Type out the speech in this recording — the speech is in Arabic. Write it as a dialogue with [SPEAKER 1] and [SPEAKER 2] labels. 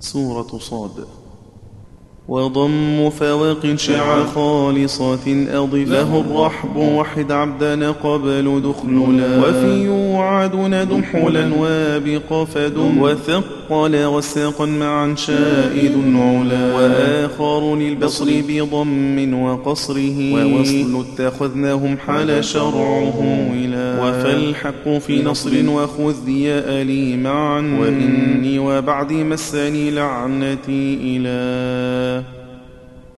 [SPEAKER 1] سورة صاد وضم فواق شع خالصة أضف له الرحب وحد عبدنا قبل دخلنا وفي يوعد ندم حلا وابق فدم وثقل وساقا معا شائد علا وآخر للبصر بضم وقصره ووصل اتخذناهم حال شرعه ولا وفالحق في نصر وخذ يا ألي معا وإني وبعد مسني لعنتي إله